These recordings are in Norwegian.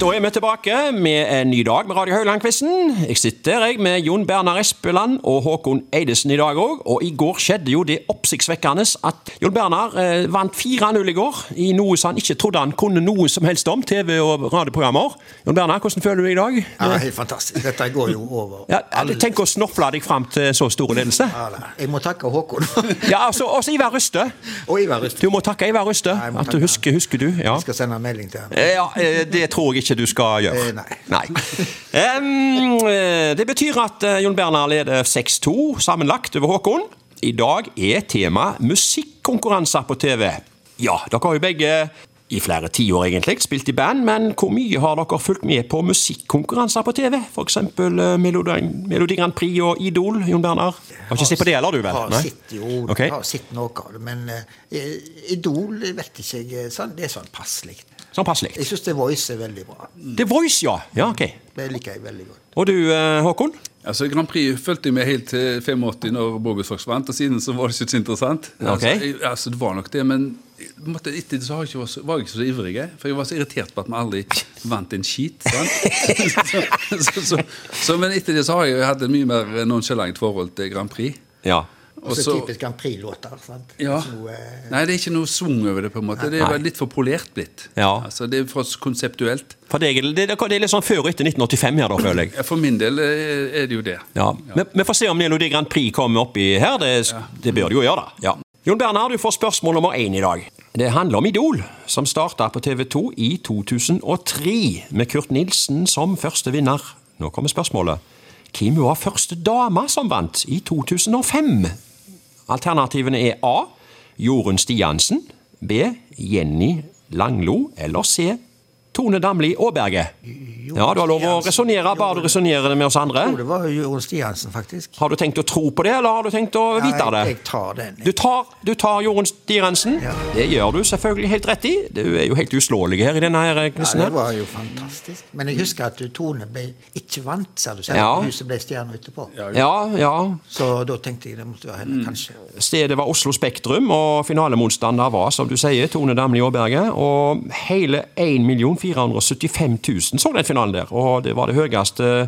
Da er vi tilbake med en ny dag med Radio Høyland-quizen. Jeg sitter jeg med Jon Bernar Espeland og Håkon Eidesen i dag òg. Og i går skjedde jo det oppsiktsvekkende at Jon Bernar eh, vant 4-0 i går i noe som han ikke trodde han kunne noe som helst om, TV- og radioprogrammer. Jon Bernar, hvordan føler du deg i dag? Ja, det er helt fantastisk. Dette går jo over. Ja, tenk å snorfle deg fram til så stor ledelse. alle. Jeg må takke Håkon Ja, altså, også Ivar Røste. og Ivar Rust. Du må takke Ivar Røste. Nei, jeg må At du takke husker, husker du. Ja. Jeg skal sende en melding til ham. Eh, Ja, eh, det tror jeg ikke du skal gjøre. Eh, nei. Em, eh, det betyr at eh, Jon Bernar leder 6-2 sammenlagt over Håkon. I dag er tema musikkonkurranser på TV. Ja, dere har jo begge i flere tiår egentlig spilt i band, men hvor mye har dere fulgt med på musikkonkurranser på TV? F.eks. eh, Melodi, Melodi Grand Prix og Idol, Jon Bernar? Har ikke sett på det heller, du vel? Har Nei? sett jo Ok. har sett noe av det, men eh, Idol jeg vet ikke jeg sånn, Det er sånn passelig. Sånn passelig. Jeg syns The Voice er veldig bra. The Voice, ja. Ja, ok. Det liker jeg veldig godt. Og du, eh, Håkon? Altså, Grand Prix fulgte jeg med helt til 85 når Bogus Fox vant, og siden så var det ikke så interessant. Altså, jeg, altså, det var nok det, men på en måte, etter det så har jeg ikke vært så, var jeg ikke så ivrig, jeg, for jeg var så irritert på at vi aldri vant en skit. Sant? så, så, så, så, men etter det så har jeg jo hatt et mye mer nonchalant forhold til Grand Prix. Ja. Og Og så så- typisk Grand Prix-låter. sant? ja. Så, eh, Nei, det er ikke noe swung over det, på en måte. Det er bare litt for polert blitt. Ja. Altså, det er for konseptuelt. For deg, er det, det er litt sånn før og etter 1985 her, da, føler jeg. Ja, For min del eh, er det jo det. Ja. Men Vi får se om Melodi Grand Prix kommer oppi her. Det, det bør det jo gjøre, da. Ja. Jon Bernar, du får spørsmål nummer én i dag. Det handler om Idol, som starta på TV 2 i 2003, med Kurt Nilsen som første vinner. Nå kommer spørsmålet. Hvem var første dame som vant i 2005? Alternativene er A. Jorunn Stiansen. B. Jenny Langlo. Eller C. Tone Damli Aaberge. Ja, du har lov å Stiansen. resonnere, bare du resonnerer det med oss andre. Jeg tror det var Jorunn Stiansen, faktisk. Har du tenkt å tro på det, eller har du tenkt å Ja, vite det? jeg, jeg tar den. Du tar, du tar Jorunn Stiansen. Ja. Det gjør du selvfølgelig helt rett i. Du er jo helt uslåelig her i denne her Ja, quizen. det her. var jo fantastisk. Men jeg husker at Tone ble ikke vant, sa du. Selv Ja. om huset ble stjerne etterpå. Ja, ja. Så da tenkte jeg det måtte være henne, kanskje. Stedet var Oslo Spektrum, og finalemotstander var, som du sier, Tone Damli Aaberge. Og hele 1 475 000 så den finalen der, og det var det høyeste eh,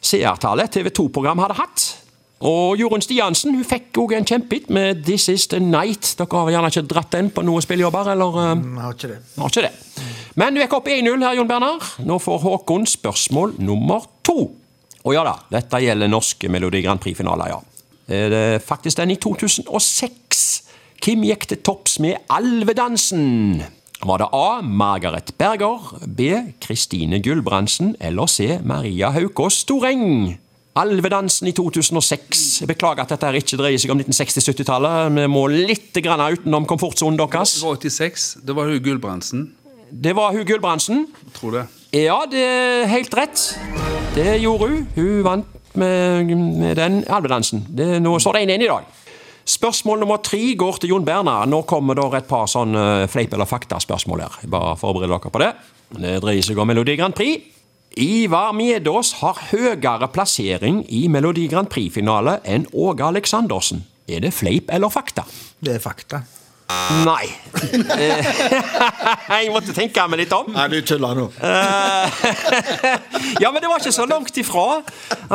seertallet TV 2-program hadde hatt. Og Jorunn Stiansen hun fikk òg en kjempehit med 'This Is The Night'. Dere har gjerne ikke dratt den på noen spillejobber, eller? eh? Vi Mm, har ikke det. Har ikke det. Men du gikk opp 1-0 her, Jon Bernar. Nå får Håkon spørsmål nummer to. Og ja da, dette gjelder norske Melodi Grand Prix-finaler, ja. Eh, Det er faktisk den i 2006. Kim gikk til topps med Alvedansen. Var det A. Margaret Berger, B. Kristine Gulbrandsen eller C. Maria Haukås Storeng? Alvedansen i 2006. Jeg beklager at dette her ikke dreier seg om 1960-70-tallet. Vi må litt grann utenom komfortsonen deres. Det var 86, det var jo Gulbrandsen, Det var hun Gulbrandsen. tror det. Ja, det er helt rett. Det gjorde hun. Hun vant med, med den alvedansen. Det, nå står det 1-1 i dag. Spørsmål nummer tre går til Jon Bernar. Nå kommer det et par sånne fleip- eller faktaspørsmål her. Bare forbered dere på det. Det dreier seg om Melodi Grand Prix. Ivar Medås har høyere plassering i Melodi Grand Prix-finale enn Åge Aleksandersen. Er det fleip eller fakta? Det er fakta. Nei. Eh, Jeg måtte tenke meg litt om. Eh, Nei, du tuller nå. ja, men det var ikke så langt ifra.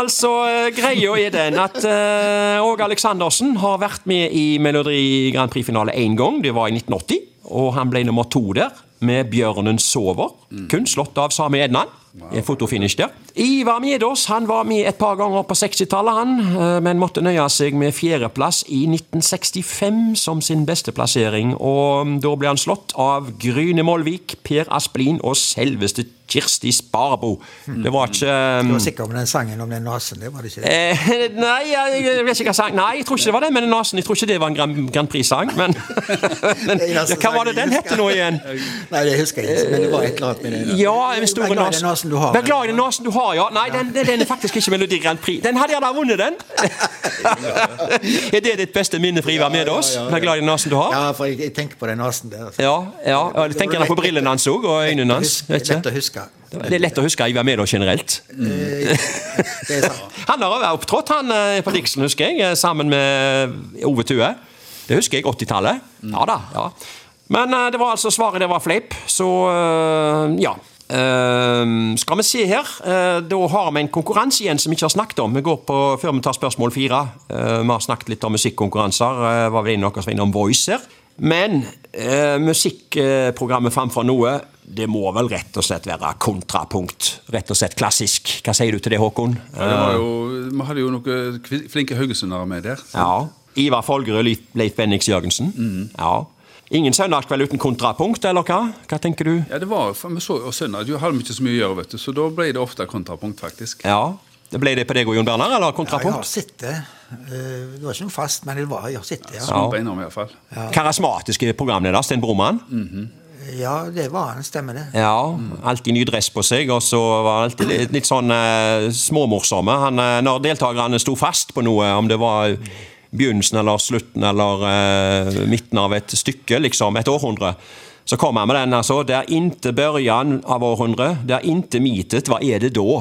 Altså, eh, Greia er den at eh, Åge Aleksandersen har vært med i Melodi Grand Prix-finale én gang. Det var i 1980. Og han ble nummer to der, med 'Bjørnen sover'. Kun slått av Sami Ednan. En fotofinish der. Ivar Medås han var med et par ganger på 60-tallet, han, eh, men måtte nøye seg med fjerdeplass i 1965 som sin beste plassering. Og mm, da ble han slått av Gryne Molvik, Per Asplin og selveste Kirsti Sparbo. Det var ikke Du um, var sikker på den sangen om den nasen, det var det ikke? det? eh, Nei, jeg, jeg vet ikke hva sang Nei, jeg tror ikke det var den med den nasen. Jeg tror ikke det var en Grand, Grand Prix-sang, men, men Det er Hva eneste sangen var det den jeg het nå igjen? Nei, det husker jeg ikke, men det var et eller annet med den. Ja, en stor Vær glad i den nasen du har. Vær glad i den nasen du har, ja. Nei, den, den, den er faktisk ikke Melodi Grand Prix. Den hadde jeg da vunnet, den! er det ditt beste minne fra Ivar med oss? Ja, ja, ja. Vær glad i den nasen du har? Ja, for jeg, jeg tenker på den nasen der. altså. Ja, ja. og Jeg tenker gjerne på brillene hans òg, og øynene hans. Husk- vet Lett ikke? å huske. Det er lett å huske Ivar Medås generelt. Det er sant. Han har vært opptrådt, han eh, på Dixon, husker jeg, eh, sammen med eh, Ove Tue. Det husker jeg. 80-tallet. Ja da. ja. Men eh, det var altså svaret det var fleip, så eh, ja. Eh, skal vi se her. Eh, da har vi en konkurranse igjen som vi ikke har snakket om. Vi går på, Før vi tar spørsmål fire. eh, vi har snakket litt om musikkonkurranser. eh, var vel inne noe som var innom Voice her. Men eh, musikkprogrammet framfor noe, det må vel rett og slett være kontrapunkt. Rett og slett klassisk. Hva sier du til det, Håkon? Ja, det var jo, vi hadde jo noen kvi- flinke haugesundere med der. Ja. Ivar Folgerød, Leif- Leif Bendix Jørgensen. Mhm. Ja. Ingen søndagskveld uten kontrapunkt, eller hva? Hva tenker du? Ja, det var, for Vi så jo søndag, du hadde vi ikke så mye å gjøre, vet du, så da ble det ofte kontrapunkt, faktisk. Ja. Det Ble det på deg og Jon Bernar, eller Ja, jeg har kontrapunkt? sittet. Eh, Det var ikke noe fast, men det var, jeg har sittet, ja. Som beina med, i hvert fall. Karismatiske programleder, Sten Broman. Ja, det var han, stemmer det. Ja, Alltid ny dress på seg, og så var han alltid litt, litt sånn eh, småmorsomme. Han, eh, når deltakerne sto fast på noe, om det var begynnelsen eller slutten eller eh, midten av et stykke, liksom, et århundre, så kom han med den altså. Det er inte børjan av århundret, det er inte mitet, hva er det da?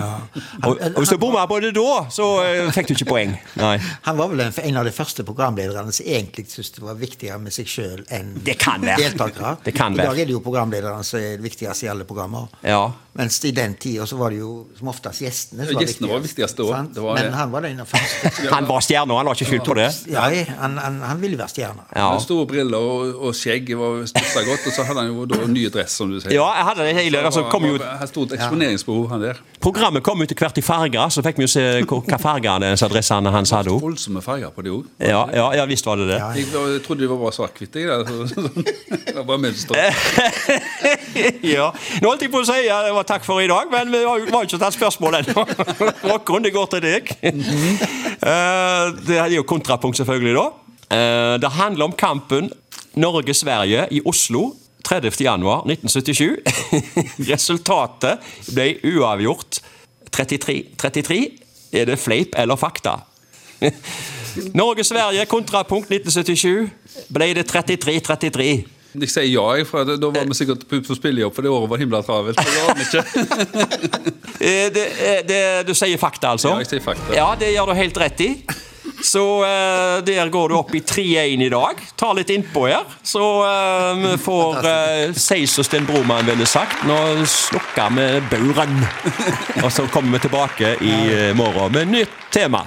Og, og hvis du bomma på det da, så eh, fikk du ikke poeng. Nei. Han var vel en, en av de første programlederne som egentlig syntes det var viktigere med seg sjøl enn Det kan være. deltakere. Det kan I dag være. er det jo programlederne som er det viktigste i alle programmer. Ja. Mens i den tida så var det jo som oftest gjestene som Ja, gjestene var viktigst da. sant? Det var Men det. han var den første. Han var stjerne, og han la ikke skyld på det. Ja, han, han, han ville være stjerne. Ja. Med Store briller og, og skjegg var stussa godt, og så hadde han jo da nye dress, som du sier. Ja, jeg hadde det hele, altså, kom jo Han var- hadde stort eksponeringsbehov, han der. Programmet kom ut til hvert i farger, så fikk vi jo se hvor- hva farger det- så dressene hans hadde. også. Voldsomme farger på det òg. Ja, ja, ja, visst var det det. Jeg, jeg trodde det var bare svart-hvitt. jeg, da. Så- sånn. Det var bare mønster. Ja. Nå holdt jeg på å si ja, det var takk for i dag, men vi har jo vi har jo ikke tatt spørsmål ennå. Håkon, det går til deg. Eh, Det er jo kontrapunkt, selvfølgelig, da. Eh, Det handler om kampen Norge-Sverige i Oslo 30.1.1977. Resultatet ble uavgjort 33. 33. Er det fleip eller fakta? Norge-Sverige, kontrapunkt 1977. Ble det 33-33? Jeg sier ja, jeg, for da var vi sikkert på, på spillejobb, for det året var himla travelt. så det var vi ikke. Eh, Det, eh, det, du sier fakta, altså? Ja, jeg sier fakta. Ja, det gjør du helt rett i. Så eh, der går du opp i 3-1 i dag. Ta litt innpå her. Så eh, vi får eh, si som Sten Broman ville sagt, nå slukker vi bauren. Og så kommer vi tilbake i eh, morgen med nytt tema.